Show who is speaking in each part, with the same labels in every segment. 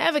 Speaker 1: Ever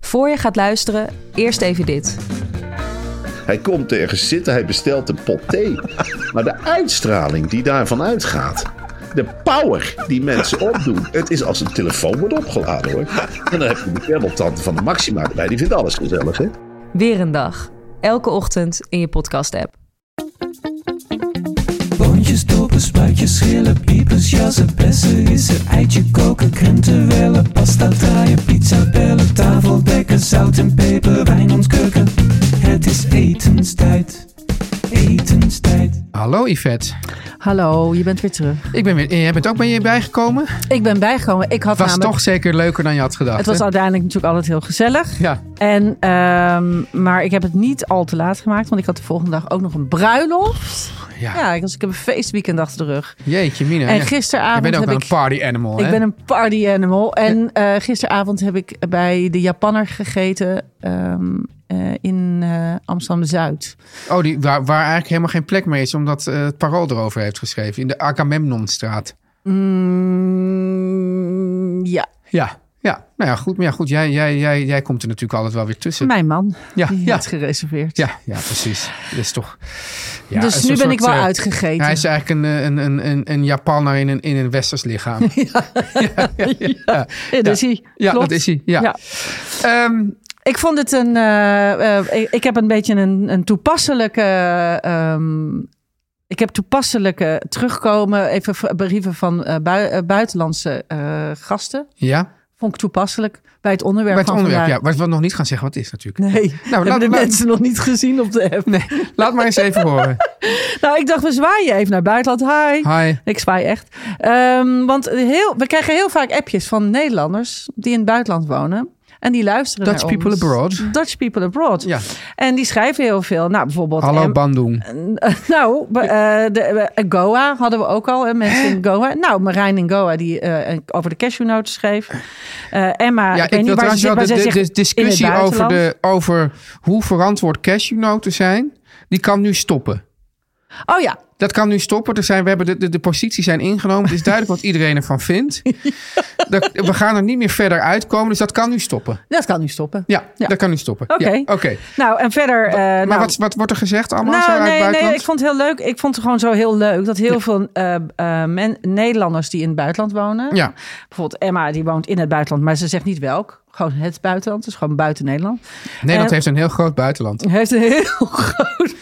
Speaker 2: Voor je gaat luisteren, eerst even dit.
Speaker 3: Hij komt ergens zitten, hij bestelt een pot thee. Maar de uitstraling die daarvan uitgaat. De power die mensen opdoen. Het is als een telefoon wordt opgeladen hoor. En dan heb je de perdeltante van de Maxima erbij. Die vindt alles gezellig hè.
Speaker 2: Weer een dag. Elke ochtend in je podcast-app.
Speaker 4: Boontjes, dopen, spuitjes, schillen, piepers, jassen, bessen, rissen, eitje koken, krenten wellen, pasta draaien, pizza bellen, tafel dekken, zout en peper, wijn ontkurken. Het is etenstijd, etenstijd.
Speaker 5: Hallo Yvette.
Speaker 6: Hallo, je bent weer terug.
Speaker 5: Ik ben weer, jij bent ook bij je bijgekomen.
Speaker 6: Ik ben bijgekomen. Ik had
Speaker 5: Het was
Speaker 6: namelijk,
Speaker 5: toch zeker leuker dan je had gedacht.
Speaker 6: het was
Speaker 5: hè?
Speaker 6: uiteindelijk natuurlijk altijd heel gezellig.
Speaker 5: Ja,
Speaker 6: En, ehm, maar ik heb het niet al te laat gemaakt, want ik had de volgende dag ook nog een bruiloft.
Speaker 5: ja.
Speaker 6: Ja, ik, was, ik heb een feestweekend achter de rug.
Speaker 5: Jeetje, Mina.
Speaker 6: En
Speaker 5: ja. Je
Speaker 6: gisteravond
Speaker 5: bent ook
Speaker 6: heb
Speaker 5: wel
Speaker 6: ik...
Speaker 5: een party animal,
Speaker 6: Ik
Speaker 5: hè?
Speaker 6: ben een party animal. En eh, gisteravond heb ik bij de Japanner gegeten ehm, eh, in Amsterdam Zuid.
Speaker 5: Oh, die, waar, waar eigenlijk helemaal geen plek meer is, omdat eh, het parool erover heeft geschreven. In de Agamemnonstraat.
Speaker 6: Mm, ja,
Speaker 5: Ja. Ja, nou ja, goed. Maar ja, goed, jij, jij, jij, jij komt er natuurlijk altijd wel weer tussen.
Speaker 6: mijn man.
Speaker 5: Ja,
Speaker 6: die
Speaker 5: ja.
Speaker 6: heeft gereserveerd.
Speaker 5: Ja, ja, precies. Dat is toch... Ja, het
Speaker 6: dus
Speaker 5: is
Speaker 6: nu
Speaker 5: een
Speaker 6: ben ik wel
Speaker 5: soort, eh,
Speaker 6: uitgegeten.
Speaker 5: Hij is eigenlijk een, eh, een, een, een, een Japanner in een, in een westers lichaam.
Speaker 6: Ja, dat is hij.
Speaker 5: Ja,
Speaker 6: Klopt.
Speaker 5: dat is hij. Ja.
Speaker 6: Ja.
Speaker 5: Ehm,
Speaker 6: Ik vond het een. eh, eh, ik, ik heb een beetje een, een toepasselijke. ehm, ik heb toepasselijke terugkomen. Even v- brieven van eh, bui- eh, buitenlandse eh, gasten.
Speaker 5: ja.
Speaker 6: Vond ik toepasselijk bij het onderwerp.
Speaker 5: Bij het
Speaker 6: van
Speaker 5: onderwerp, ja.
Speaker 6: vandaag.
Speaker 5: Wat we nog niet gaan zeggen wat het is natuurlijk.
Speaker 6: Nee,
Speaker 5: laat-
Speaker 6: hebben de
Speaker 5: laat-
Speaker 6: mensen nog niet gezien op de app.
Speaker 5: Nee, laat maar eens even horen.
Speaker 6: Nou, ik dacht, we zwaaien even naar buitenland. Hi.
Speaker 5: Hi.
Speaker 6: Ik zwaai echt. Ehm, want heel, we krijgen heel vaak appjes van Nederlanders die in het buitenland wonen. En die luisteren
Speaker 5: Dutch
Speaker 6: naar ons.
Speaker 5: people abroad.
Speaker 6: Dutch people abroad.
Speaker 5: Ja.
Speaker 6: En die schrijven heel veel. Nou, bijvoorbeeld...
Speaker 5: Hallo
Speaker 6: em,
Speaker 5: Bandung.
Speaker 6: nou, be- eh, de, eh, Goa hadden we ook al. Hè, mensen in Goa. Nou, Marijn in Goa die eh, over de cashewnoten schreef. Eh, Emma,
Speaker 5: Ja,
Speaker 6: ik weet
Speaker 5: ik
Speaker 6: niet
Speaker 5: wil
Speaker 6: waar
Speaker 5: trouwens
Speaker 6: ze zit,
Speaker 5: wel
Speaker 6: maar
Speaker 5: de,
Speaker 6: zij
Speaker 5: de,
Speaker 6: zegt
Speaker 5: de
Speaker 6: in het
Speaker 5: discussie over,
Speaker 6: buitenland.
Speaker 5: de, over hoe verantwoord cashewnoten zijn, die kan nu stoppen.
Speaker 6: Oh ja,
Speaker 5: Dat kan nu stoppen. Er zijn, we hebben de, de, de posities zijn ingenomen. Het is duidelijk wat iedereen ervan vindt. Dat, we gaan er niet meer verder uitkomen, dus dat kan nu stoppen.
Speaker 6: dat kan nu stoppen.
Speaker 5: Ja,
Speaker 6: Ja.
Speaker 5: dat kan nu stoppen.
Speaker 6: Oké.
Speaker 5: Ja,
Speaker 6: Nou, en verder... eh,
Speaker 5: maar
Speaker 6: nou,
Speaker 5: wat, wat wordt er gezegd allemaal zo uit
Speaker 6: nee,
Speaker 5: buitenland?
Speaker 6: nee, ik vond het heel leuk. Ik vond het gewoon zo heel leuk dat heel veel eh, eh, men, Nederlanders die in het buitenland wonen.
Speaker 5: Ja.
Speaker 6: Bijvoorbeeld Emma, die woont in het buitenland, maar ze zegt niet welk. Gewoon het buitenland, dus gewoon buiten Nederland.
Speaker 5: Nederland
Speaker 6: Eh,
Speaker 5: heeft een heel groot buitenland.
Speaker 6: Heeft een heel groot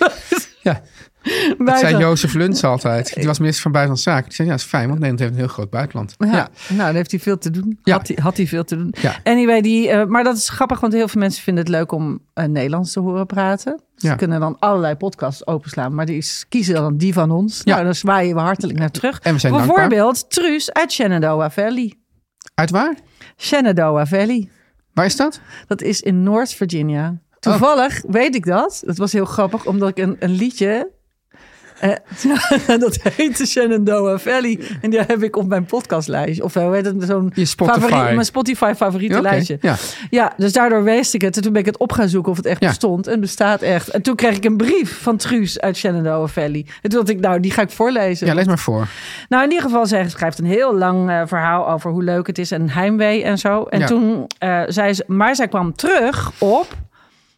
Speaker 5: Ja, dat zei
Speaker 6: buitenland.
Speaker 5: Jozef Luns altijd. Die was minister van Buitenlandse Zaken. Die zei, ja, dat is fijn, want Nederland heeft een heel groot buitenland.
Speaker 6: Ja, nou, dan heeft hij veel te doen.
Speaker 5: Ja.
Speaker 6: Had, hij, had hij veel te doen.
Speaker 5: Ja.
Speaker 6: Anyway, die, eh, maar dat is grappig, want heel veel mensen vinden het leuk om eh, Nederlands te horen praten. Ze
Speaker 5: Ja.
Speaker 6: kunnen dan allerlei podcasts openslaan, maar die is- kiezen dan die van ons.
Speaker 5: Ja.
Speaker 6: Nou, daar zwaaien we hartelijk naar terug.
Speaker 5: En we zijn dankbaar.
Speaker 6: Bijvoorbeeld Truus uit Shenandoah Valley.
Speaker 5: Uit waar?
Speaker 6: Shenandoah Valley,
Speaker 5: Waar is dat?
Speaker 6: dat is in Noord-Virginia. Toevallig weet ik dat. Dat was heel grappig, omdat ik een, een liedje... eh, dat heette Shenandoah Valley. En die heb ik op mijn podcastlijstje. Of eh, hoe heet het? Zo'n
Speaker 5: Je Spotify.
Speaker 6: favoriet- mijn Spotify favoriete
Speaker 5: Ja, oké.
Speaker 6: lijstje.
Speaker 5: Ja.
Speaker 6: Ja, dus daardoor wist ik het. En toen ben ik het op gaan zoeken of het echt
Speaker 5: Ja.
Speaker 6: bestond. En het bestaat echt. En toen kreeg ik een brief van Truus uit Shenandoah Valley. En toen dacht ik, nou, die ga ik voorlezen.
Speaker 5: Ja, lees maar voor.
Speaker 6: Nou, in ieder geval, zij schrijft een heel lang eh, verhaal over hoe leuk het is en heimwee en zo. En
Speaker 5: Ja.
Speaker 6: toen eh, zei ze, maar zij kwam terug op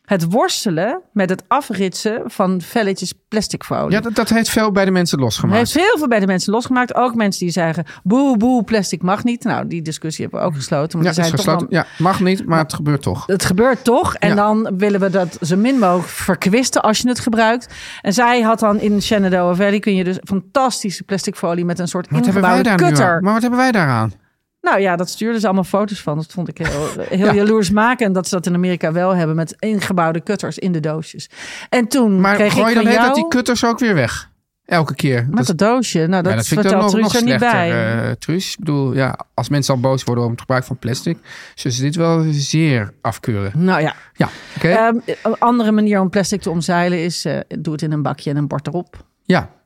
Speaker 6: het worstelen met het afritsen van velletjes plastic folie.
Speaker 5: Ja, dat, dat heeft veel bij de mensen losgemaakt.
Speaker 6: Heeft heel veel bij de mensen losgemaakt. Ook mensen die zeggen, boe, boe, plastic mag niet. Nou, die discussie hebben we ook gesloten.
Speaker 5: ja,
Speaker 6: Maar
Speaker 5: dat
Speaker 6: er
Speaker 5: is
Speaker 6: zijn
Speaker 5: gesloten.
Speaker 6: Toch wel-
Speaker 5: Ja, mag niet, maar het gebeurt toch.
Speaker 6: het gebeurt toch. En
Speaker 5: Ja.
Speaker 6: dan willen we dat zo min mogelijk verkwisten als je het gebruikt. En zij had dan in Shenandoah Valley kun je dus fantastische plastic folie met een soort
Speaker 5: Wat hebben wij
Speaker 6: ingebouwde
Speaker 5: daar nu aan?
Speaker 6: kutter.
Speaker 5: Maar wat hebben wij daaraan?
Speaker 6: Nou ja, dat stuurden ze allemaal foto's van. Dat vond ik heel, heel
Speaker 5: Ja.
Speaker 6: jaloers maken. En dat ze dat in Amerika wel hebben met ingebouwde kutters in de doosjes. En toen
Speaker 5: Maar
Speaker 6: kreeg
Speaker 5: gooi
Speaker 6: ik
Speaker 5: dan
Speaker 6: van
Speaker 5: heet
Speaker 6: jou...
Speaker 5: dat die kutters ook weer weg. Elke keer. Dat
Speaker 6: Met
Speaker 5: is-
Speaker 6: het doosje. Nou, dat,
Speaker 5: Ja, dat vind ik dan
Speaker 6: vertelt
Speaker 5: nog, nog
Speaker 6: Truus er niet
Speaker 5: slechter,
Speaker 6: bij.
Speaker 5: eh, Truus. Ik bedoel, ja, als mensen al boos worden om het gebruik van plastic, zullen ze dit wel zeer afkeuren.
Speaker 6: Nou ja,
Speaker 5: Ja, oké.
Speaker 6: Ehm, een andere manier om plastic te omzeilen is... eh, doe het in een bakje en een bord erop.
Speaker 5: ja.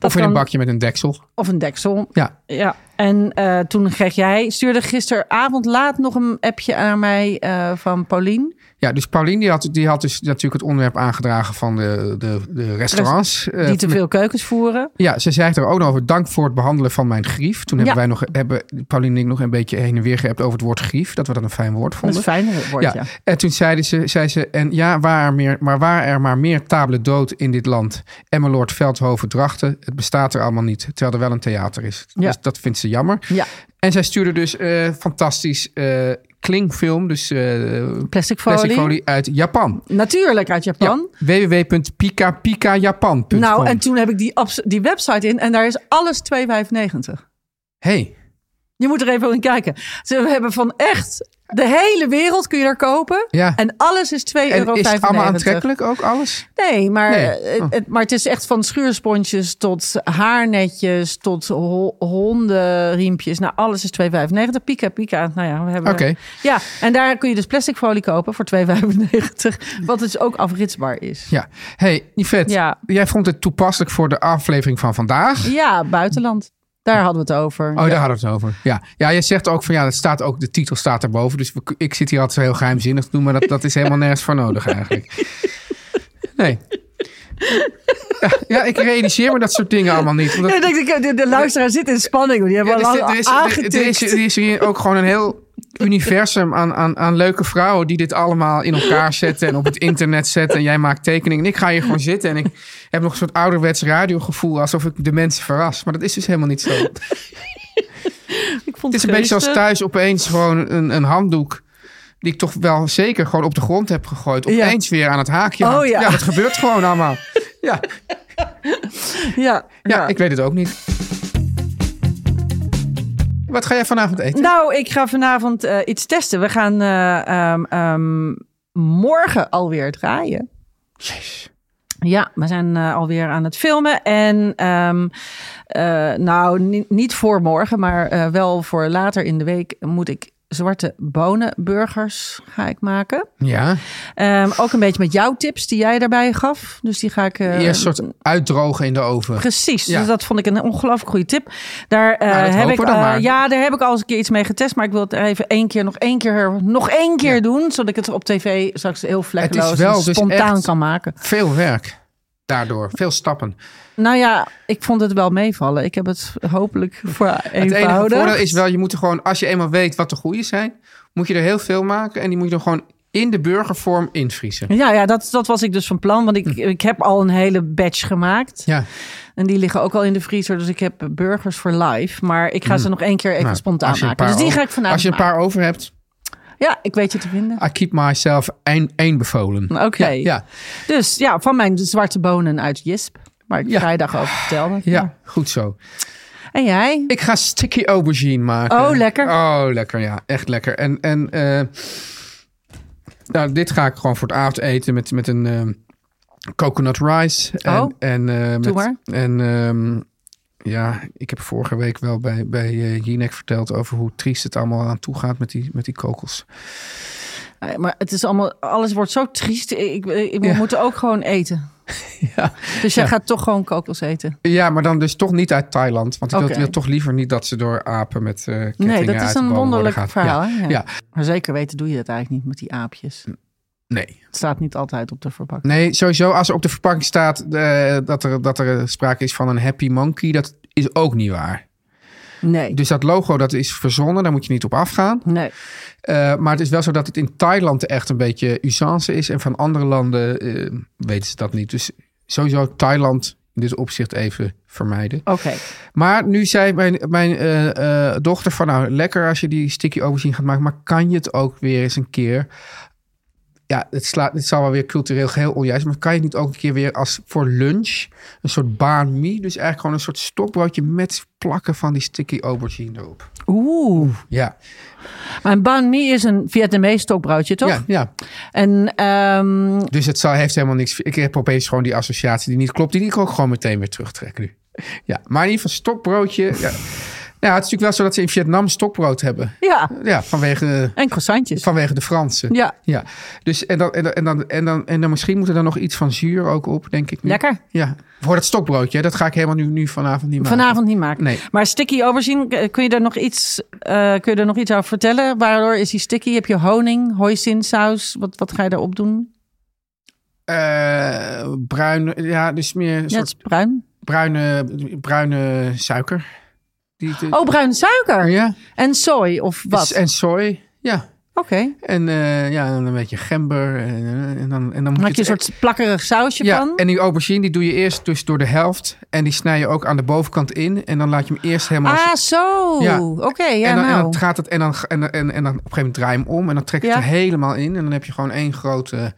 Speaker 5: Of in
Speaker 6: kan-
Speaker 5: een bakje met een deksel.
Speaker 6: Of een deksel.
Speaker 5: Ja.
Speaker 6: Ja. En eh, toen kreeg jij... Stuurde gisteravond laat nog een appje aan mij eh, van Paulien.
Speaker 5: Ja, dus Paulien die had, die had dus natuurlijk het onderwerp aangedragen van de, de, de restaurants. eh,
Speaker 6: Die te veel keukens voeren.
Speaker 5: Ja, ze zei er ook nog over dank voor het behandelen van mijn grief. Toen hebben
Speaker 6: Ja.
Speaker 5: wij nog, hebben Pauline en ik nog een beetje heen en weer geappt over het woord grief. Dat we dat een fijn woord
Speaker 6: Dat
Speaker 5: vonden.
Speaker 6: is een fijner woord, ja.
Speaker 5: ja. En toen zeiden ze, zei ze, en ja, waar er meer, maar waar er maar meer tabelen dood in dit land. Emmeloord, Veldhoven, Drachten, het bestaat er allemaal niet. Terwijl er wel een theater is.
Speaker 6: Ja.
Speaker 5: Dus dat vindt ze jammer.
Speaker 6: Ja.
Speaker 5: En zij stuurde dus eh, fantastisch eh klingfilm, dus eh
Speaker 6: Plastic folie.
Speaker 5: plastic folie uit Japan.
Speaker 6: Natuurlijk uit Japan.
Speaker 5: Ja, www.pikapikajapan.com.
Speaker 6: Nou, en toen heb ik die, abs- die website in en daar is alles 2,95.
Speaker 5: Hey.
Speaker 6: Je moet er even in kijken. Ze hebben van echt de hele wereld kun je daar kopen.
Speaker 5: Ja.
Speaker 6: En alles is 2,95
Speaker 5: En is het allemaal aantrekkelijk ook, alles?
Speaker 6: Nee, maar,
Speaker 5: Nee.
Speaker 6: eh,
Speaker 5: Oh.
Speaker 6: het, maar het is echt van schuursponsjes tot haarnetjes tot ho- hondenriempjes. Nou, alles is 2,95. Pika, pika. Nou ja, we hebben...
Speaker 5: Oké.
Speaker 6: Ja, en daar kun je dus plastic folie kopen voor 2,95. Wat dus ook afritsbaar is.
Speaker 5: Ja. Hey, Yvette,
Speaker 6: Ja.
Speaker 5: jij vond het toepasselijk voor de aflevering van vandaag.
Speaker 6: Ja, buitenland. Daar hadden we het over.
Speaker 5: Oh, daar hadden we het over. Ja. ja, jij zegt ook van ja, dat staat ook, de titel staat erboven. Dus we- ik zit hier altijd zo heel geheimzinnig te doen, maar dat, dat is helemaal nergens voor nodig eigenlijk. Nee. Ja, Ja, ik realiseer me dat soort dingen allemaal niet. Omdat,
Speaker 6: Ja, ik denk, ik- de, de luisteraar zit in spanning. Die hebben
Speaker 5: Ja,
Speaker 6: al
Speaker 5: dus
Speaker 6: lang
Speaker 5: er, er is, er,
Speaker 6: aangetikt.
Speaker 5: er is, er is hier ook gewoon een heel universum aan, aan, aan leuke vrouwen die dit allemaal in elkaar zetten en op het internet zetten. En jij maakt tekeningen. En ik ga hier gewoon zitten en ik heb nog een soort ouderwets radiogevoel alsof ik de mensen verras. Maar dat is dus helemaal niet zo. Het
Speaker 6: ik vond
Speaker 5: is een beetje zoals thuis opeens gewoon een, een handdoek. Die ik toch wel zeker gewoon op de grond heb gegooid.
Speaker 6: Ja.
Speaker 5: Opeens weer aan het haakje.
Speaker 6: Oh
Speaker 5: hangt.
Speaker 6: ja.
Speaker 5: ja, dat gebeurt gewoon allemaal. Ja,
Speaker 6: Ja,
Speaker 5: ja,
Speaker 6: ja.
Speaker 5: ik weet het ook niet. Wat ga jij vanavond eten?
Speaker 6: Nou, ik ga vanavond eh, iets testen. We gaan eh, ehm, ehm, morgen alweer draaien. Ja, we zijn eh, alweer aan het filmen. En ehm, eh, nou, ni- niet voor morgen, maar eh, wel voor later in de week moet ik zwarte bonenburgers ga ik maken.
Speaker 5: Ja.
Speaker 6: Ehm, ook een beetje met jouw tips die jij daarbij gaf. Dus die ga ik... eh,
Speaker 5: Eerst een soort uitdrogen in de oven.
Speaker 6: Precies,
Speaker 5: Ja.
Speaker 6: dus dat vond ik een ongelooflijk goede tip. Daar, eh,
Speaker 5: Nou, dat
Speaker 6: heb
Speaker 5: hopen
Speaker 6: ik,
Speaker 5: we dan
Speaker 6: eh,
Speaker 5: maar.
Speaker 6: ja, daar heb ik al eens een keer iets mee getest, maar ik wil het er even één keer, nog één keer, nog één keer doen, zodat ik het op tv straks heel vlekkeloos
Speaker 5: wel
Speaker 6: en
Speaker 5: dus
Speaker 6: spontaan
Speaker 5: echt-
Speaker 6: kan maken.
Speaker 5: Veel werk daardoor, veel stappen.
Speaker 6: Nou ja, ik vond het wel meevallen. Ik heb het hopelijk voor
Speaker 5: Het enige voordeel
Speaker 6: eenvoudig.
Speaker 5: is wel, je moet er gewoon, als je eenmaal weet wat de goede zijn, moet je er heel veel maken en die moet je dan gewoon in de burgervorm invriezen.
Speaker 6: Ja, ja dat, dat was ik dus van plan, want ik, ik heb al een hele batch gemaakt.
Speaker 5: Hm. Ja,
Speaker 6: En die liggen ook al in de vriezer, dus ik heb burgers voor live. Maar ik ga ze nog één keer even
Speaker 5: Nou,
Speaker 6: spontaan
Speaker 5: als je een
Speaker 6: maken. Dus
Speaker 5: paar
Speaker 6: die
Speaker 5: over-
Speaker 6: ga ik vanavond
Speaker 5: Als je een paar over hebt,
Speaker 6: maken. Ja, ik weet je te vinden.
Speaker 5: I keep myself één, één bevolen.
Speaker 6: Oké.
Speaker 5: Ah, Ja,
Speaker 6: Dus ja, van mijn zwarte bonen uit Jisp. Waar ik
Speaker 5: Ja.
Speaker 6: vrijdag over vertelde.
Speaker 5: ja, goed zo.
Speaker 6: En jij?
Speaker 5: Ik ga sticky aubergine maken.
Speaker 6: Oh, lekker.
Speaker 5: Oh, lekker, ja. Echt lekker. En, en eh, nou, dit ga ik gewoon voor het avondeten met, met een ehm, coconut rice. En,
Speaker 6: Oh,
Speaker 5: en, eh, met-
Speaker 6: maar.
Speaker 5: En ehm, ja, ik heb vorige week wel bij, bij eh, Jinek verteld over hoe triest het allemaal aan toe gaat met die, met die kokos.
Speaker 6: Eh, Maar het is allemaal, alles wordt zo triest. Ik, ik, we
Speaker 5: Ja.
Speaker 6: moeten ook gewoon eten.
Speaker 5: Ja.
Speaker 6: Dus jij
Speaker 5: Ja.
Speaker 6: gaat toch gewoon kokos eten.
Speaker 5: ja, maar dan dus toch niet uit Thailand. Want ik wil-
Speaker 6: Oké.
Speaker 5: wil toch liever niet dat ze door apen met eh kettingen
Speaker 6: Nee, dat
Speaker 5: uit
Speaker 6: is
Speaker 5: de bomen
Speaker 6: een
Speaker 5: worden
Speaker 6: wonderlijk
Speaker 5: gehaald.
Speaker 6: verhaal.
Speaker 5: Ja.
Speaker 6: hè? Ja.
Speaker 5: ja.
Speaker 6: Maar zeker weten doe je dat eigenlijk niet met die aapjes.
Speaker 5: Nee.
Speaker 6: Het staat niet altijd op de verpakking.
Speaker 5: Nee, sowieso als er op de verpakking eh, staat eh, dat, er, dat er sprake is van een happy monkey, dat is ook niet waar.
Speaker 6: Nee.
Speaker 5: Dus dat logo dat is verzonnen, daar moet je niet op afgaan.
Speaker 6: Nee.
Speaker 5: Eh, maar het is wel zo dat het in Thailand echt een beetje usance is. En van andere landen eh, weten ze dat niet. Dus sowieso Thailand in dit opzicht even vermijden.
Speaker 6: Oké.
Speaker 5: Maar nu zei mijn, mijn eh, eh, dochter van nou lekker als je die sticky aubergine gaat maken. Maar kan je het ook weer eens een keer... Ja, het, slaat, het zal wel weer cultureel geheel onjuist. Maar kan je het niet ook een keer weer als voor lunch een soort baan mi? Dus eigenlijk gewoon een soort stokbroodje met plakken van die sticky aubergine erop.
Speaker 6: Oeh.
Speaker 5: Ja,
Speaker 6: Maar een banh mi is een Vietnamees stokbroodje, toch?
Speaker 5: ja, ja.
Speaker 6: En ehm,
Speaker 5: Dus het zal, heeft helemaal niks. Ik heb opeens gewoon die associatie die niet klopt. Die ik ook gewoon meteen weer terugtrek nu. Ja, maar in ieder geval stokbroodje. Ja. Nou, het is natuurlijk wel zo dat ze in Vietnam stokbrood hebben.
Speaker 6: ja,
Speaker 5: Ja, vanwege,
Speaker 6: en croissantjes.
Speaker 5: vanwege de Fransen.
Speaker 6: Ja,
Speaker 5: Ja, dus en dan, en, dan, en, dan, en, dan, en dan misschien moet er dan nog iets van zuur ook op, denk ik. Nu.
Speaker 6: lekker.
Speaker 5: Ja, voor dat stokbroodje. hè, Dat ga ik helemaal nu, nu vanavond niet maken.
Speaker 6: Vanavond niet maken.
Speaker 5: Nee.
Speaker 6: Maar sticky aubergine, eh, kun je daar nog iets, eh, kun je daar nog iets over vertellen? Waardoor is die sticky? Heb je honing, hoisinsaus? Wat, wat ga je daarop doen?
Speaker 5: Eh, bruin, ja, dus meer een
Speaker 6: Ja, het
Speaker 5: soort
Speaker 6: is bruin.
Speaker 5: bruine, bruine suiker. Die, die-
Speaker 6: Oh, bruin suiker.
Speaker 5: ja.
Speaker 6: En soy of wat?
Speaker 5: En soy. Ja,
Speaker 6: Oké.
Speaker 5: En eh, ja, dan een beetje gember. En, eh, en dan, en dan moet
Speaker 6: Maak je een
Speaker 5: het- e-
Speaker 6: soort plakkerig sausje
Speaker 5: Ja,
Speaker 6: van?
Speaker 5: en die aubergine die doe je eerst dus door de helft. En die snij je ook aan de bovenkant in. En dan laat je hem eerst helemaal...
Speaker 6: Ah, zo.
Speaker 5: Ja.
Speaker 6: Oké, ja
Speaker 5: en, dan, en
Speaker 6: nou.
Speaker 5: dan gaat het en dan, en, en, en dan op een gegeven moment draai je hem om. En dan trek je
Speaker 6: Ja.
Speaker 5: het er helemaal in. En dan heb je gewoon één grote...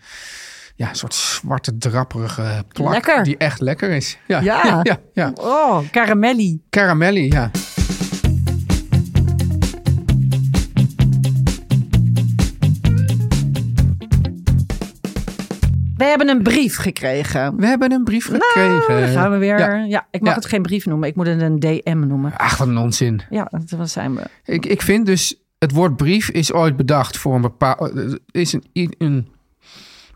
Speaker 5: Ja, soort zwarte, drapperige plak.
Speaker 6: Lekker.
Speaker 5: Die echt lekker is. Ja,
Speaker 6: Ja.
Speaker 5: ja, ja. ja.
Speaker 6: Oh, caramelli.
Speaker 5: Caramelli, ja.
Speaker 6: We hebben een brief gekregen.
Speaker 5: We hebben een brief
Speaker 6: Ah,
Speaker 5: gekregen.
Speaker 6: daar gaan we weer. Ja,
Speaker 5: Ja.
Speaker 6: ik mag
Speaker 5: Ja.
Speaker 6: het geen brief noemen. Ik moet het een DM noemen.
Speaker 5: Ach, wat een onzin.
Speaker 6: Ja, dat wat zijn we.
Speaker 5: Ik, ik vind dus, het woord brief is ooit bedacht voor een bepaalde. is een, i- een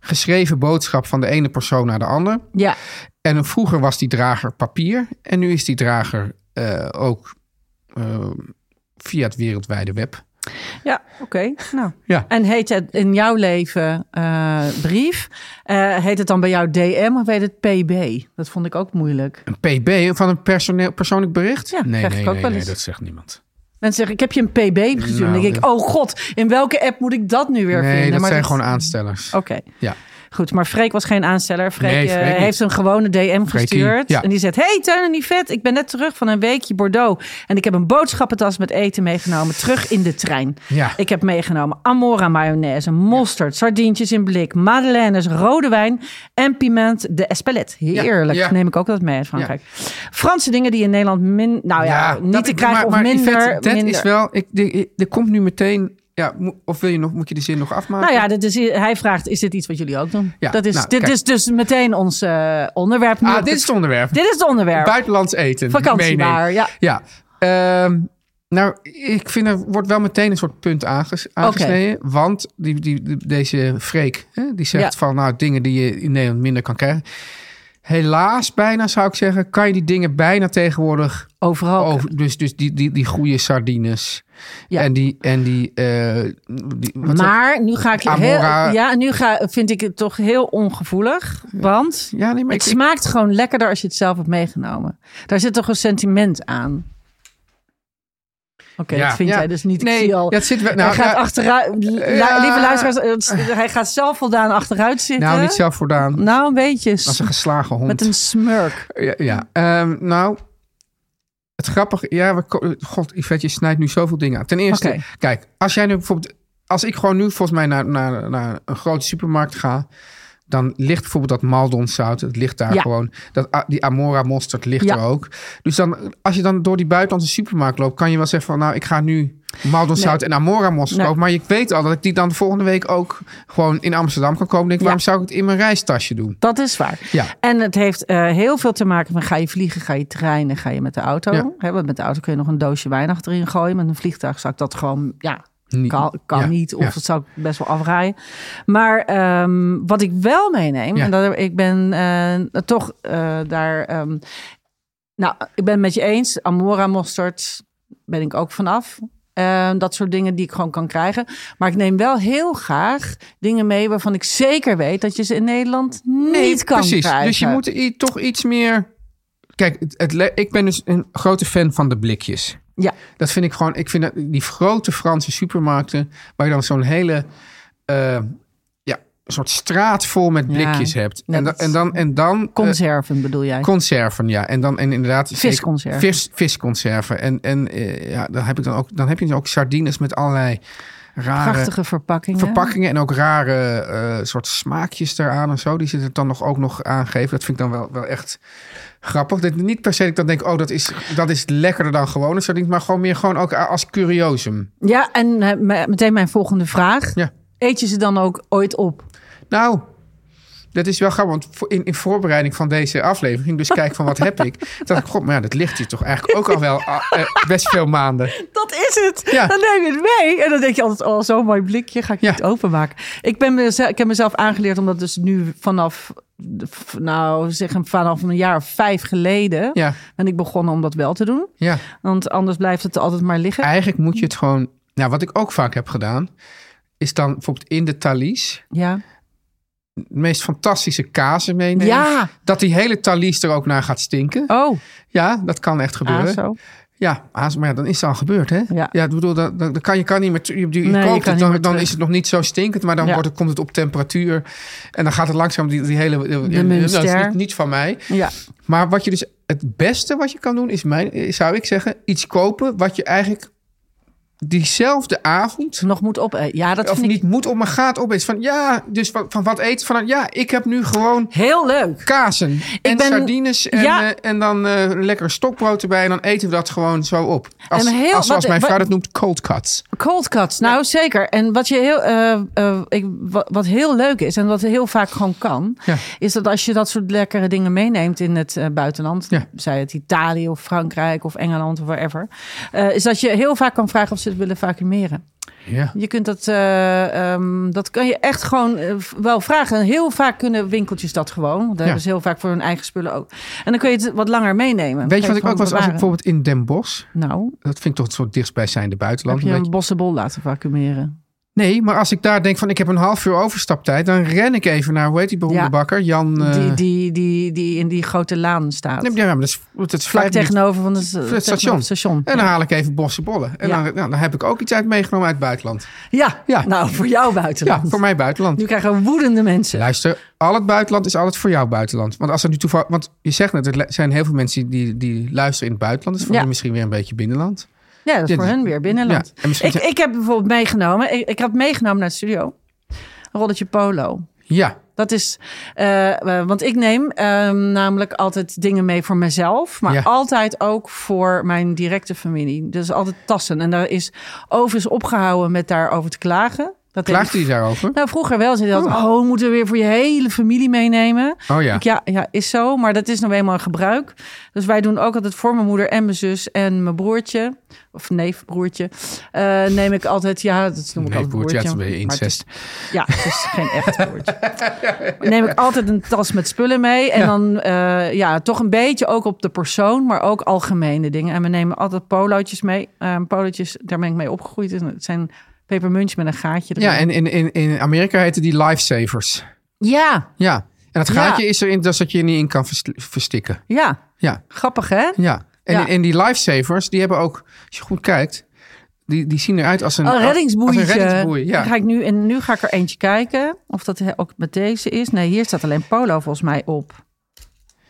Speaker 5: geschreven boodschap van de ene persoon naar de ander.
Speaker 6: Ja,
Speaker 5: En vroeger was die drager papier. En nu is die drager eh, ook eh, via het wereldwijde web.
Speaker 6: ja oké. Nou.
Speaker 5: Ja.
Speaker 6: En heet het in jouw leven eh, brief? Eh, heet het dan bij jou DM of heet het PB? Dat vond ik ook moeilijk.
Speaker 5: Een PB van een personeel, persoonlijk bericht?
Speaker 6: Ja,
Speaker 5: nee,
Speaker 6: krijg
Speaker 5: nee,
Speaker 6: ik ook
Speaker 5: nee,
Speaker 6: wel
Speaker 5: nee,
Speaker 6: eens.
Speaker 5: dat zegt niemand.
Speaker 6: Mensen zeggen, ik heb je een PB gestuurd.
Speaker 5: Nou,
Speaker 6: dan denk ik, oh god, in welke app moet ik dat nu weer
Speaker 5: nee,
Speaker 6: vinden?
Speaker 5: dat
Speaker 6: Maar Oh.
Speaker 5: zijn gewoon aanstellers.
Speaker 6: Oké.
Speaker 5: Ja.
Speaker 6: Goed, maar Freek was geen aansteller. Freek,
Speaker 5: Nee,
Speaker 6: eh,
Speaker 5: Freek niet.
Speaker 6: heeft een gewone DM
Speaker 5: Freekie,
Speaker 6: gestuurd.
Speaker 5: ja.
Speaker 6: En die zegt, hey Teun en Yvette, ik ben net terug van een weekje Bordeaux. En ik heb een boodschappentas met eten meegenomen, terug in de trein.
Speaker 5: Ja.
Speaker 6: Ik heb meegenomen Amora mayonaise, mosterd, sardientjes in blik, madeleines, rode wijn en piment de Espelette. Heerlijk,
Speaker 5: Ja, ja.
Speaker 6: neem ik ook dat mee uit Frankrijk. Franse dingen die in Nederland min, nou ja, niet
Speaker 5: dat-
Speaker 6: te krijgen
Speaker 5: maar-
Speaker 6: of
Speaker 5: maar
Speaker 6: minder.
Speaker 5: Yvette, dat
Speaker 6: minder.
Speaker 5: is wel. Ik, die- er komt nu meteen. Ja, mo- of wil je nog, moet je de zin nog afmaken?
Speaker 6: Nou ja, dit is, hij vraagt, is dit iets wat jullie ook doen?
Speaker 5: Ja,
Speaker 6: dat is,
Speaker 5: nou,
Speaker 6: dit
Speaker 5: kijk.
Speaker 6: is dus meteen ons eh, onderwerp. nu
Speaker 5: ah,
Speaker 6: op
Speaker 5: dit
Speaker 6: de-
Speaker 5: is het onderwerp.
Speaker 6: dit is het onderwerp.
Speaker 5: Buitenlands eten. meenemen.
Speaker 6: Vakantiewaar, ja.
Speaker 5: Ja. Ehm, nou, ik vind er wordt wel meteen een soort punt aanges- aangesneden. Want die, die, die- deze Freek, hè, die zegt
Speaker 6: Ja.
Speaker 5: van nou, dingen die je in Nederland minder kan krijgen. Helaas, bijna zou ik zeggen, kan je die dingen bijna tegenwoordig.
Speaker 6: Overal.
Speaker 5: Over, dus dus die, die, die goede sardines.
Speaker 6: Ja.
Speaker 5: En die. En die, eh, die wat zeg-
Speaker 6: maar nu ga ik
Speaker 5: Amora.
Speaker 6: heel, ja, nu ga, vind ik het toch heel ongevoelig, want
Speaker 5: ja, nee, maar
Speaker 6: het
Speaker 5: ik, ik-
Speaker 6: smaakt gewoon lekkerder als je het zelf hebt meegenomen. Daar zit toch een sentiment aan. Oké,
Speaker 5: Ja.
Speaker 6: dat vind
Speaker 5: Ja.
Speaker 6: jij dus niet. Ik
Speaker 5: Nee,
Speaker 6: zie al.
Speaker 5: dat zit wel- nou,
Speaker 6: hij gaat
Speaker 5: ja.
Speaker 6: achteruit. li-
Speaker 5: Ja.
Speaker 6: Lieve luisteraars, het- hij gaat zelf voldaan achteruit zitten.
Speaker 5: Nou, niet zelf voldaan.
Speaker 6: Nou, een beetje.
Speaker 5: Als een geslagen hond.
Speaker 6: Met een smurk.
Speaker 5: Ja,
Speaker 6: Mm.
Speaker 5: ja. Ehm, nou, het grappige... Ja, we, ko- God, Yvette, je snijdt nu zoveel dingen aan. Ten eerste,
Speaker 6: Oké.
Speaker 5: kijk, als jij nu bijvoorbeeld... Als ik gewoon nu volgens mij naar, naar, naar een grote supermarkt ga... Dan ligt bijvoorbeeld dat Maldonzout, het ligt daar
Speaker 6: Ja.
Speaker 5: gewoon. Dat, a- die Amora mosterd ligt
Speaker 6: Ja.
Speaker 5: er ook. Dus dan, als je dan door die buitenlandse supermarkt loopt, kan je wel zeggen van, nou, ik ga nu Maldonzout en Amora mosterd
Speaker 6: Nee.
Speaker 5: kopen. Maar ik weet al dat ik die dan volgende week ook gewoon in Amsterdam kan kopen. Ik Denk, waarom
Speaker 6: Ja.
Speaker 5: zou ik het in mijn reistasje doen?
Speaker 6: Dat is waar.
Speaker 5: Ja.
Speaker 6: En het heeft eh, heel veel te maken met ga je vliegen, ga je treinen, ga je met de auto.
Speaker 5: Ja.
Speaker 6: Hè, want met de auto kun je nog een doosje wijn achterin gooien. Met een vliegtuigzak dat gewoon, ja,
Speaker 5: Niet.
Speaker 6: kan, kan
Speaker 5: Ja,
Speaker 6: niet. Of
Speaker 5: ja.
Speaker 6: dat zou ik best wel afraaien. Maar ehm, wat ik wel meeneem,
Speaker 5: Ja.
Speaker 6: en dat, ik ben eh, toch eh, daar... ehm, nou, ik ben het met je eens. Amora mosterd ben ik ook vanaf. Eh, dat soort dingen die ik gewoon kan krijgen. Maar ik neem wel heel graag dingen mee waarvan ik zeker weet dat je ze in Nederland niet kan
Speaker 5: precies.
Speaker 6: krijgen.
Speaker 5: Dus je moet er i- toch iets meer. Kijk, het, het le- ik ben dus een grote fan van de blikjes.
Speaker 6: Ja.
Speaker 5: Dat vind ik gewoon, ik vind dat die grote Franse supermarkten, waar je dan zo'n hele eh, ja, soort straat vol met
Speaker 6: Ja.
Speaker 5: blikjes hebt.
Speaker 6: Ja,
Speaker 5: en, dan,
Speaker 6: dat is-
Speaker 5: en dan, en dan eh,
Speaker 6: Conserven bedoel jij?
Speaker 5: Conserven, ja. En dan en inderdaad... zeker-
Speaker 6: Visconserven.
Speaker 5: Vis, visconserven. En, en eh, ja, dan, heb ik dan, ook, dan heb je dus ook sardines met allerlei rare
Speaker 6: Prachtige verpakkingen.
Speaker 5: verpakkingen. En ook rare eh, soort smaakjes eraan en zo. Die zitten er dan nog, ook nog aangegeven. Dat vind ik dan wel, wel echt grappig. Dat, niet per se dat ik dan denk, oh, dat is, dat is lekkerder dan gewone sardines. Maar gewoon meer gewoon ook a- als curiosum.
Speaker 6: Ja, en eh, me- meteen mijn volgende vraag.
Speaker 5: Ja.
Speaker 6: Eet je ze dan ook ooit op?
Speaker 5: Nou... Dat is wel grappig, want voor- in, in voorbereiding van deze aflevering ging ik dus kijken van wat heb ik. Dat ik, god, maar ja, dat ligt hier toch eigenlijk ook al wel ah, eh, best veel maanden.
Speaker 6: Dat is het.
Speaker 5: Ja.
Speaker 6: Dan neem je het mee. En dan denk je altijd, oh, zo'n mooi blikje ga ik
Speaker 5: Ja.
Speaker 6: niet openmaken. Ik, ben mezelf, ik heb mezelf aangeleerd, omdat dus nu vanaf, de- f- nou zeg hem vanaf een jaar of vijf geleden,
Speaker 5: Ja,
Speaker 6: ben ik begonnen om dat wel te doen.
Speaker 5: ja.
Speaker 6: Want anders blijft het altijd maar liggen.
Speaker 5: Eigenlijk moet je het gewoon. Nou, wat ik ook vaak heb gedaan, is dan bijvoorbeeld in de talies
Speaker 6: Ja.
Speaker 5: de meest fantastische kazen meenemen.
Speaker 6: Ja.
Speaker 5: Dat die hele talies er ook naar gaat stinken.
Speaker 6: Oh,
Speaker 5: Ja, dat kan echt gebeuren.
Speaker 6: ah, zo.
Speaker 5: Ja, aas, maar ja, dan is het al gebeurd, hè?
Speaker 6: Ja.
Speaker 5: ik bedoel, dan, dan, dan kan je kan niet meer... tu- Je, je
Speaker 6: Nee, je
Speaker 5: koopt
Speaker 6: kan
Speaker 5: het,
Speaker 6: niet
Speaker 5: dan,
Speaker 6: meer
Speaker 5: dan
Speaker 6: terug.
Speaker 5: is het nog niet zo stinkend, maar dan
Speaker 6: Ja.
Speaker 5: wordt het, komt het op temperatuur. En dan gaat het langzaam die, die hele... eh, eh,
Speaker 6: Munster.
Speaker 5: dat is niet, niet van mij.
Speaker 6: Ja.
Speaker 5: Maar wat je dus... Het beste wat je kan doen, is mijn, eh, zou ik zeggen... iets kopen wat je eigenlijk diezelfde avond...
Speaker 6: Nog moet op. eh, Ja, dat
Speaker 5: of
Speaker 6: vind
Speaker 5: niet
Speaker 6: ik
Speaker 5: moet op, maar gaat op. Is van ja, dus van, van wat eten? Van ja, ik heb nu gewoon
Speaker 6: heel leuk.
Speaker 5: kazen en
Speaker 6: ben-
Speaker 5: sardines en,
Speaker 6: Ja.
Speaker 5: eh, en dan eh, een lekker stokbrood erbij. En dan eten we dat gewoon zo op. Als,
Speaker 6: En heel-
Speaker 5: als, zoals
Speaker 6: wat-
Speaker 5: mijn
Speaker 6: wat-
Speaker 5: vrouw dat noemt, cold cuts.
Speaker 6: Cold cuts, nou zeker. En wat, je heel, eh, eh, ik, wat, wat heel leuk is en wat heel vaak gewoon kan,
Speaker 5: Ja.
Speaker 6: is dat als je dat soort lekkere dingen meeneemt in het eh, buitenland,
Speaker 5: Ja.
Speaker 6: zij het Italië of Frankrijk of Engeland of wherever, eh, is dat je heel vaak kan vragen of ze het willen vacumeren.
Speaker 5: Ja.
Speaker 6: Je kunt dat, eh, ehm, dat kan je echt gewoon eh, v- wel vragen. En heel vaak kunnen winkeltjes dat gewoon. Dat hebben ze heel vaak voor hun eigen spullen ook. En dan kun je het wat langer meenemen.
Speaker 5: Weet je
Speaker 6: Kun
Speaker 5: wat ik
Speaker 6: het
Speaker 5: ook was als ik
Speaker 6: gewoon bewaren.
Speaker 5: bijvoorbeeld in Den Bosch...
Speaker 6: Nou,
Speaker 5: Dat vind ik toch het soort dichtstbijzijnde
Speaker 6: heb
Speaker 5: buitenland.
Speaker 6: je
Speaker 5: een
Speaker 6: een
Speaker 5: beetje.
Speaker 6: bossenbol laten vacumeren?
Speaker 5: Nee, maar als ik daar denk van ik heb een half uur overstaptijd... dan ren ik even naar, hoe heet die beroemde
Speaker 6: Ja.
Speaker 5: bakker? Jan... eh,
Speaker 6: die, die, die, die in die grote laan staat.
Speaker 5: nee, ja, maar dat is, dat is
Speaker 6: Vlak
Speaker 5: vijf minuten.
Speaker 6: tegenover van de s-
Speaker 5: het station.
Speaker 6: tegenover het station.
Speaker 5: En dan haal ik even bosse bollen. En
Speaker 6: Ja.
Speaker 5: dan, nou, dan heb ik ook iets uit meegenomen uit het buitenland.
Speaker 6: Ja,
Speaker 5: Ja.
Speaker 6: nou voor jou
Speaker 5: Ja,
Speaker 6: buitenland.
Speaker 5: voor mij buitenland.
Speaker 6: Nu krijgen we woedende mensen.
Speaker 5: Luister, al het buitenland is altijd voor jou buitenland. Want als er nu toeval, want je zegt net, er le- zijn heel veel mensen die, die luisteren in het buitenland. Dus voor
Speaker 6: Ja.
Speaker 5: jullie misschien weer een beetje binnenland.
Speaker 6: Ja, dat is
Speaker 5: Ja,
Speaker 6: voor
Speaker 5: die-
Speaker 6: hun weer binnenland.
Speaker 5: Ja, en misschien
Speaker 6: ik,
Speaker 5: zijn-
Speaker 6: ik heb bijvoorbeeld meegenomen, ik, ik had meegenomen naar de studio, een rolletje polo.
Speaker 5: Ja,
Speaker 6: Dat is, eh, eh, want ik neem ehm, namelijk altijd dingen mee voor mezelf, maar
Speaker 5: Ja.
Speaker 6: altijd ook voor mijn directe familie. Dus altijd tassen. En daar is overigens opgehouden met daarover te klagen. Dat deed ik
Speaker 5: klaagt hij daarover?
Speaker 6: Nou, vroeger wel. Ze dachten, oh, we moeten weer voor je hele familie meenemen.
Speaker 5: Oh ja.
Speaker 6: Ik, ja, ja, is zo. Maar dat is nou eenmaal een gebruik. Dus wij doen ook altijd voor mijn moeder en mijn zus en mijn broertje. Of neef, broertje. eh, neem ik altijd, ja, dat noem ik
Speaker 5: Nee,
Speaker 6: altijd
Speaker 5: broertje,
Speaker 6: broertje.
Speaker 5: ja, het is een beetje
Speaker 6: Maar het
Speaker 5: incest.
Speaker 6: is- ja, het is geen echt broertje. Neem ik altijd een tas met spullen mee. En dan, eh, ja, toch een beetje ook op de persoon, maar ook algemene dingen. En we nemen altijd polootjes mee. Eh polootjes, daar ben ik mee opgegroeid. En het zijn pepermuntjes met een gaatje erin.
Speaker 5: Ja, en in, in, in Amerika heten die lifesavers.
Speaker 6: ja,
Speaker 5: Ja. En het
Speaker 6: Ja.
Speaker 5: gaatje is erin dus dat je er niet in kan vers- verstikken.
Speaker 6: ja.
Speaker 5: Ja,
Speaker 6: Grappig, hè?
Speaker 5: ja. En,
Speaker 6: Ja.
Speaker 5: en die lifesavers, die hebben ook, als je goed kijkt, die, die zien eruit als een,
Speaker 6: Oh,
Speaker 5: als-
Speaker 6: reddingsboeitje.
Speaker 5: Als een reddingsboei, ja.
Speaker 6: Dan ga ik nu, en nu ga ik er eentje kijken of dat he- ook met deze is. Nee, hier staat alleen polo volgens mij op.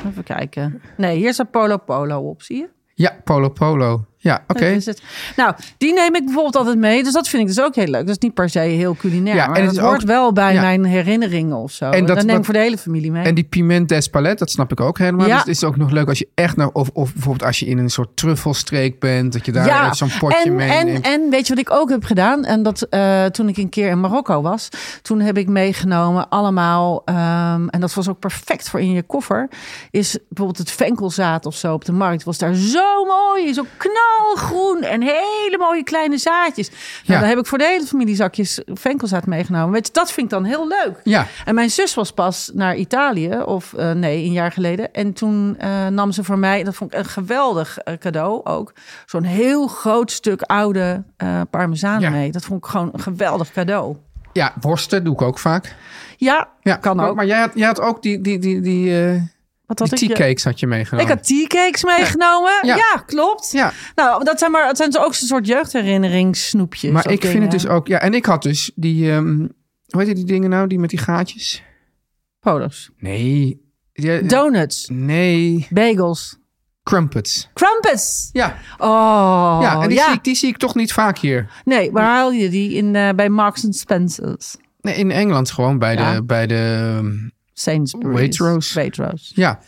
Speaker 6: Even kijken. Nee, hier staat polo polo op, zie je?
Speaker 5: Ja, polo polo. Ja, oké.
Speaker 6: Dat is het. Nou, die neem ik bijvoorbeeld altijd mee. Dus dat vind ik dus ook heel leuk. Dat is niet per se heel culinair,
Speaker 5: Ja,
Speaker 6: maar
Speaker 5: en
Speaker 6: en
Speaker 5: het
Speaker 6: het
Speaker 5: is
Speaker 6: hoort
Speaker 5: ook-
Speaker 6: wel bij
Speaker 5: ja.
Speaker 6: mijn herinneringen of zo. En
Speaker 5: dat-
Speaker 6: dat, neem
Speaker 5: dat-
Speaker 6: ik voor de hele familie mee.
Speaker 5: En die piment d'Espalet, dat snap ik ook helemaal.
Speaker 6: Ja.
Speaker 5: Dus het is ook nog leuk als je echt naar... Of, of bijvoorbeeld als je in een soort truffelstreek bent... dat je daar even zo'n potje
Speaker 6: en,
Speaker 5: mee
Speaker 6: En,
Speaker 5: neemt.
Speaker 6: en weet je wat ik ook heb gedaan? En dat eh, toen ik een keer in Marokko was, toen heb ik meegenomen allemaal, ehm, en dat was ook perfect voor in je koffer, is bijvoorbeeld het venkelzaad of zo op de markt. Was daar zo mooi, zo knalgroen en hele mooie kleine zaadjes. Nou,
Speaker 5: Ja.
Speaker 6: daar heb ik voor de hele familie zakjes venkelzaad meegenomen. Weet je, dat vind ik dan heel leuk.
Speaker 5: Ja,
Speaker 6: En mijn zus was pas naar Italië, of eh, nee, een jaar geleden. En toen eh, nam ze voor mij, dat vond ik een geweldig eh, cadeau ook, zo'n heel groot stuk oude eh parmezaan
Speaker 5: Ja.
Speaker 6: mee. Dat vond ik gewoon een geweldig cadeau.
Speaker 5: ja, worsten doe ik ook vaak.
Speaker 6: Ja,
Speaker 5: Ja,
Speaker 6: kan
Speaker 5: maar,
Speaker 6: ook.
Speaker 5: Maar jij had, jij had ook die, die, die, die, eh,
Speaker 6: Wat
Speaker 5: Die
Speaker 6: had ik?
Speaker 5: tea
Speaker 6: je-
Speaker 5: cakes had je meegenomen.
Speaker 6: Ik had teacakes meegenomen. Ja,
Speaker 5: Ja.
Speaker 6: klopt.
Speaker 5: Ja.
Speaker 6: Nou, dat zijn, maar, dat zijn dus ook een soort jeugdherinneringssnoepjes.
Speaker 5: Maar
Speaker 6: of
Speaker 5: ik vind
Speaker 6: dingen.
Speaker 5: het dus ook... Ja, en ik had dus die... ehm hoe heet die dingen nou? Die met die gaatjes?
Speaker 6: Polos.
Speaker 5: Nee. Ja,
Speaker 6: Donuts.
Speaker 5: nee.
Speaker 6: Bagels.
Speaker 5: Crumpets.
Speaker 6: Crumpets.
Speaker 5: Ja,
Speaker 6: Oh,
Speaker 5: ja
Speaker 6: ja.
Speaker 5: en die, Zie ik, die zie ik toch niet vaak hier.
Speaker 6: Nee, waar haal je die? In, eh, bij Marks and Spencer's.
Speaker 5: Nee, in Engeland gewoon bij
Speaker 6: Ja.
Speaker 5: de... Bij de ehm,
Speaker 6: Sainsbury's.
Speaker 5: Waitrose.
Speaker 6: Waitrose.
Speaker 5: ja.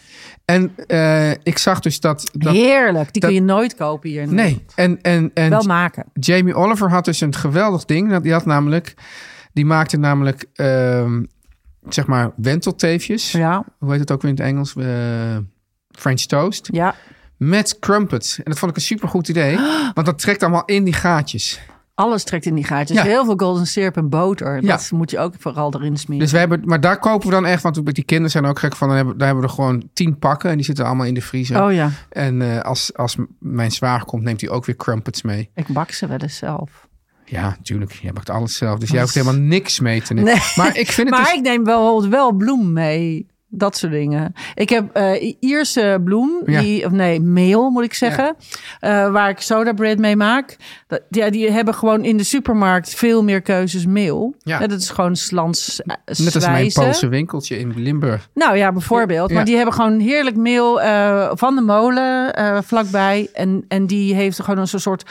Speaker 5: En eh, ik zag dus dat... dat
Speaker 6: Heerlijk. Die
Speaker 5: dat-
Speaker 6: kun je nooit kopen hier. in de
Speaker 5: nee.
Speaker 6: wereld.
Speaker 5: En, en, en
Speaker 6: Wel maken.
Speaker 5: Jamie Oliver had dus een geweldig ding. Dat- Die had namelijk, die maakte namelijk, ehm, zeg maar, wentelteefjes.
Speaker 6: Ja,
Speaker 5: Hoe heet het ook weer in het Engels? Eh, French toast.
Speaker 6: ja.
Speaker 5: Met crumpets. En dat vond ik een supergoed idee. Want dat trekt allemaal in die gaatjes.
Speaker 6: Alles trekt in die gaatjes.
Speaker 5: Ja.
Speaker 6: Heel veel golden syrup en boter.
Speaker 5: Ja.
Speaker 6: Dat moet je ook vooral erin smeren.
Speaker 5: Dus we hebben, maar daar kopen we dan echt, want met die kinderen zijn er ook gek van. Dan hebben, daar hebben we er gewoon tien pakken en die zitten allemaal in de vriezer.
Speaker 6: Oh ja,
Speaker 5: En eh, als, als m- mijn zwager komt, neemt hij ook weer crumpets mee.
Speaker 6: ik bak ze wel eens zelf.
Speaker 5: Ja, tuurlijk. Jij bakt alles zelf. Dus jij hoeft helemaal niks mee te nemen.
Speaker 6: Nee.
Speaker 5: Maar ik vind het
Speaker 6: Maar
Speaker 5: dus-
Speaker 6: ik neem wel, wel bloem mee. Dat soort dingen. Ik heb eh, Ierse bloem,
Speaker 5: Ja.
Speaker 6: die, of nee, meel moet ik zeggen. eh, waar ik soda bread mee maak. Dat, ja, die hebben gewoon in de supermarkt veel meer keuzes meel.
Speaker 5: Ja.
Speaker 6: Ja. Dat is gewoon slans. eh,
Speaker 5: Net als mijn
Speaker 6: swijzen.
Speaker 5: Poolse winkeltje in Limburg.
Speaker 6: Nou ja, bijvoorbeeld.
Speaker 5: Ja.
Speaker 6: Maar die hebben gewoon heerlijk meel eh, van de molen eh, vlakbij. En, en die heeft gewoon een zo'n soort...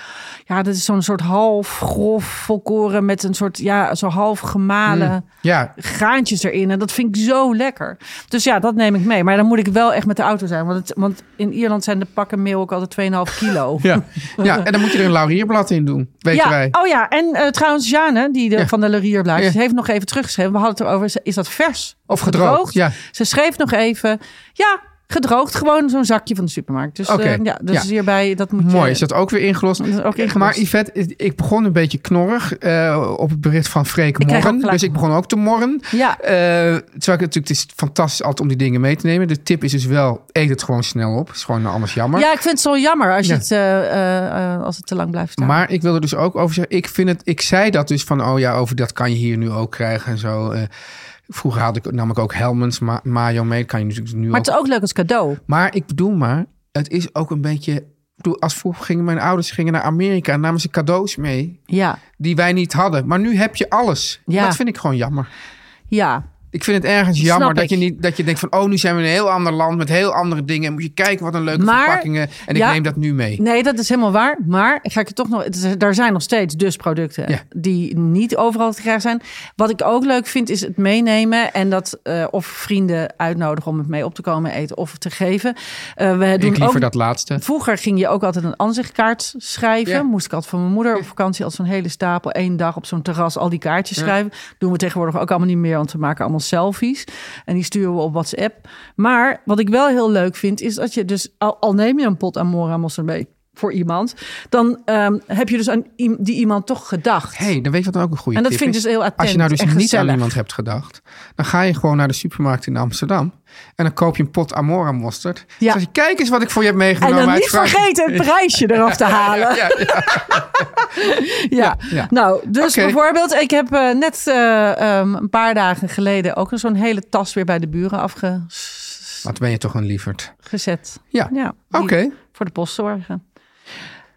Speaker 6: Ja, dat is zo'n soort half grof volkoren met een soort... Ja, zo half gemalen
Speaker 5: Ja,
Speaker 6: graantjes erin. En dat vind ik zo lekker. Dus ja, dat neem ik mee. Maar dan moet ik wel echt met de auto zijn. Want, het, want in Ierland zijn de pakken meel ook altijd 2,5 kilo.
Speaker 5: ja. ja, en dan moet je er een laurierblad in doen, weten
Speaker 6: Ja,
Speaker 5: wij.
Speaker 6: oh ja, en eh, trouwens Jane, die de,
Speaker 5: Ja.
Speaker 6: van de Lurierblaadjes,
Speaker 5: Ja.
Speaker 6: heeft nog even teruggeschreven. We hadden het erover, is dat vers
Speaker 5: Of gedroogd, ja.
Speaker 6: Ze schreef nog even, ja, gedroogd, gewoon zo'n zakje van de supermarkt. Dus
Speaker 5: Oké,
Speaker 6: eh, ja, dus
Speaker 5: ja.
Speaker 6: hierbij, dat moet je...
Speaker 5: Mooi, is dat ook weer ingelost. Eh,
Speaker 6: Dat is ook ingelost.
Speaker 5: Maar Yvette, ik begon een beetje knorrig eh, op het bericht van Freek
Speaker 6: Ik krijg
Speaker 5: Morren.
Speaker 6: ook gelijk-
Speaker 5: Dus ik begon ook te morren.
Speaker 6: Ja.
Speaker 5: Eh, terwijl ik natuurlijk, het is fantastisch altijd om die dingen mee te nemen. De tip is dus wel, eet het gewoon snel op. is gewoon anders jammer.
Speaker 6: Ja, ik vind het zo jammer als, je
Speaker 5: Ja.
Speaker 6: het, eh, eh, eh, als het te lang blijft staan.
Speaker 5: Maar ik wil er dus ook over zeggen. Ik, vind het, ik zei dat dus van, oh ja, over dat kan je hier nu ook krijgen en zo. Eh, vroeger had ik namelijk ook Helmens, ma mayo mee. Kan je natuurlijk nu
Speaker 6: Maar
Speaker 5: ook
Speaker 6: het is ook leuk als cadeau.
Speaker 5: Maar ik bedoel maar, het is ook een beetje... ik bedoel, Als vroeger gingen mijn ouders gingen naar Amerika en namen ze cadeaus mee
Speaker 6: Ja,
Speaker 5: die wij niet hadden. Maar nu heb je alles.
Speaker 6: Ja.
Speaker 5: Dat vind ik gewoon jammer.
Speaker 6: ja.
Speaker 5: Ik vind het ergens
Speaker 6: Snap
Speaker 5: jammer
Speaker 6: ik.
Speaker 5: dat je, niet, dat je denkt van... oh, nu zijn we in een heel ander land met heel andere dingen. En moet je kijken wat een leuke
Speaker 6: Maar-
Speaker 5: verpakkingen. En ik
Speaker 6: ja.
Speaker 5: neem dat nu mee.
Speaker 6: Nee, dat is helemaal waar. Maar ga ik het toch nog. het is- Er zijn nog steeds dus producten
Speaker 5: Ja.
Speaker 6: die niet overal te krijgen zijn. Wat ik ook leuk vind, is het meenemen. En dat eh, of vrienden uitnodigen om het mee op te komen eten of te geven. Eh, we doen
Speaker 5: ik liever
Speaker 6: ook,
Speaker 5: dat laatste.
Speaker 6: Vroeger ging je ook altijd een ansichtkaart schrijven.
Speaker 5: Ja.
Speaker 6: Moest ik altijd van mijn moeder op vakantie als zo'n hele stapel één dag op zo'n terras al die kaartjes schrijven. Doen we tegenwoordig ook allemaal niet meer, want we maken allemaal selfies en die sturen we op WhatsApp. Maar wat ik wel heel leuk vind is dat je dus al, al neem je een pot amora mosserbee voor iemand, dan ehm, heb je dus aan i- die iemand toch gedacht.
Speaker 5: Hé, hey, dan weet je wat ook een goede
Speaker 6: En dat
Speaker 5: tip
Speaker 6: vind ik
Speaker 5: is.
Speaker 6: dus heel attent
Speaker 5: Als je nou dus
Speaker 6: en
Speaker 5: niet aan
Speaker 6: gezellig.
Speaker 5: iemand hebt gedacht... dan ga je gewoon naar de supermarkt in Amsterdam... en dan koop je een pot Amora mosterd.
Speaker 6: Ja.
Speaker 5: Zeg je, kijk eens wat Nou, ik voor je heb
Speaker 6: En
Speaker 5: meegenomen
Speaker 6: dan
Speaker 5: uit
Speaker 6: niet
Speaker 5: Frankrijk.
Speaker 6: vergeten het prijsje eraf te halen.
Speaker 5: Ja, ja.
Speaker 6: Ja,
Speaker 5: ja.
Speaker 6: nou, dus
Speaker 5: Oké.
Speaker 6: bijvoorbeeld, ik heb eh, net eh, ehm, een paar dagen geleden ook zo'n hele tas weer bij de buren afgezet.
Speaker 5: Wat ben je toch een lieverd. Ja,
Speaker 6: Ja,
Speaker 5: oké.
Speaker 6: die Voor de post zorgen.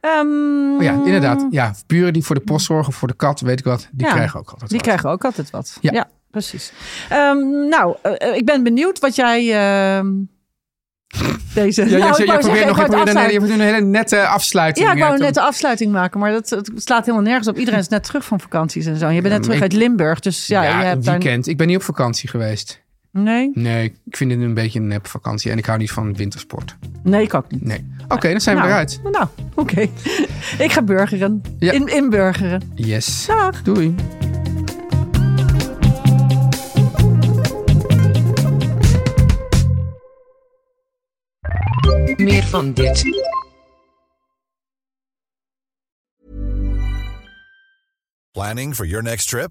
Speaker 6: Ehm,
Speaker 5: Oh ja, inderdaad. Ja, buren die voor de post zorgen, voor de kat, weet ik wat, die
Speaker 6: Ja,
Speaker 5: krijgen ook altijd
Speaker 6: Die
Speaker 5: wat.
Speaker 6: krijgen ook altijd wat.
Speaker 5: Ja.
Speaker 6: Ja, precies. Ehm, nou, eh, eh, ik ben benieuwd wat jij. ehm, deze.
Speaker 5: Ja,
Speaker 6: nou,
Speaker 5: jij-
Speaker 6: ik
Speaker 5: jij
Speaker 6: wou zeggen,
Speaker 5: probeert
Speaker 6: ik
Speaker 5: nog je
Speaker 6: wou het
Speaker 5: probeert een hele-
Speaker 6: afsluiten.
Speaker 5: je probeert een hele nette afsluiting.
Speaker 6: Ja, ik wou
Speaker 5: eh, te-
Speaker 6: net de afsluiting maken, maar dat, het slaat helemaal nergens op. Iedereen is net terug van vakanties en zo. Je bent net terug
Speaker 5: ik-
Speaker 6: uit Limburg, dus ja,
Speaker 5: Ja,
Speaker 6: je
Speaker 5: een
Speaker 6: hebt daar...
Speaker 5: weekend. Ik ben niet op vakantie geweest.
Speaker 6: Nee?
Speaker 5: Nee, ik vind het een beetje een nep vakantie. En ik hou niet van wintersport.
Speaker 6: Nee, ik ook niet.
Speaker 5: Nee. Oké, dan zijn we
Speaker 6: nou,
Speaker 5: eruit.
Speaker 6: Nou, oké. ik ga burgeren.
Speaker 5: Ja.
Speaker 6: In, inburgeren.
Speaker 5: Yes.
Speaker 6: Dag.
Speaker 5: Doei.
Speaker 7: Meer van dit.
Speaker 8: Planning for your next trip?